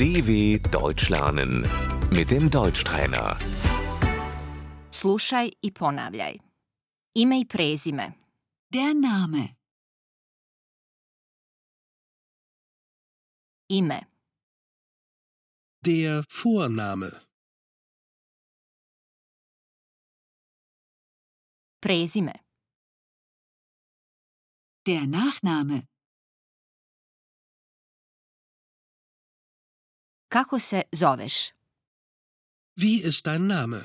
DW Deutsch lernen mit dem Deutschtrainer. Slušaj i ponavljaj. Ime i prezime. Der Name. Ime, Der Vorname. prezime, Der Nachname. kako se zoveš, Wie ist dein Name?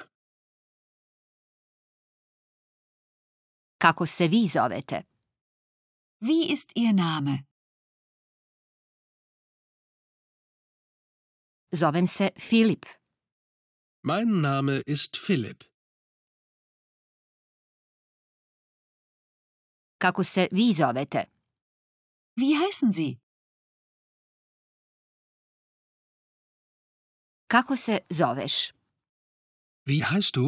kako se vi zovete, Wie ist Ihr Name? zovem se Filip, Mein Name ist Philipp. kako se vi zovete, Wie heißen Sie? kako se zoveš, Wie heißt du?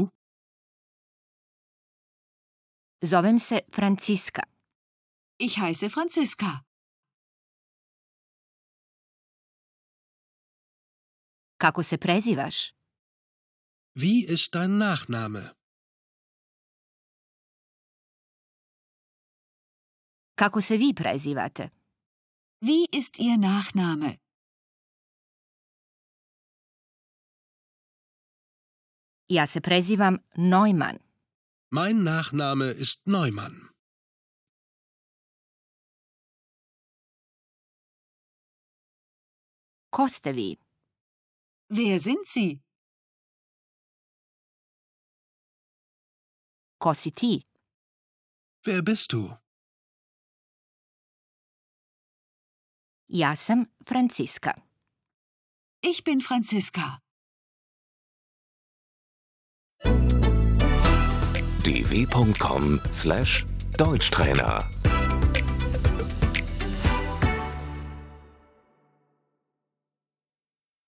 zovem se Franciska, Ich heiße Franziska. kako se prezivaš, Wie ist dein Nachname? kako se vi prezivate, Wie ist Ihr Nachname? ja se prezivam Neumann, Mein Nachname ist Neumann. ko ste vi, Wer sind Sie? ko si ti, Wer bist du? ja sam Franciska. Ich bin Franziska. dw.com/deutschtrainer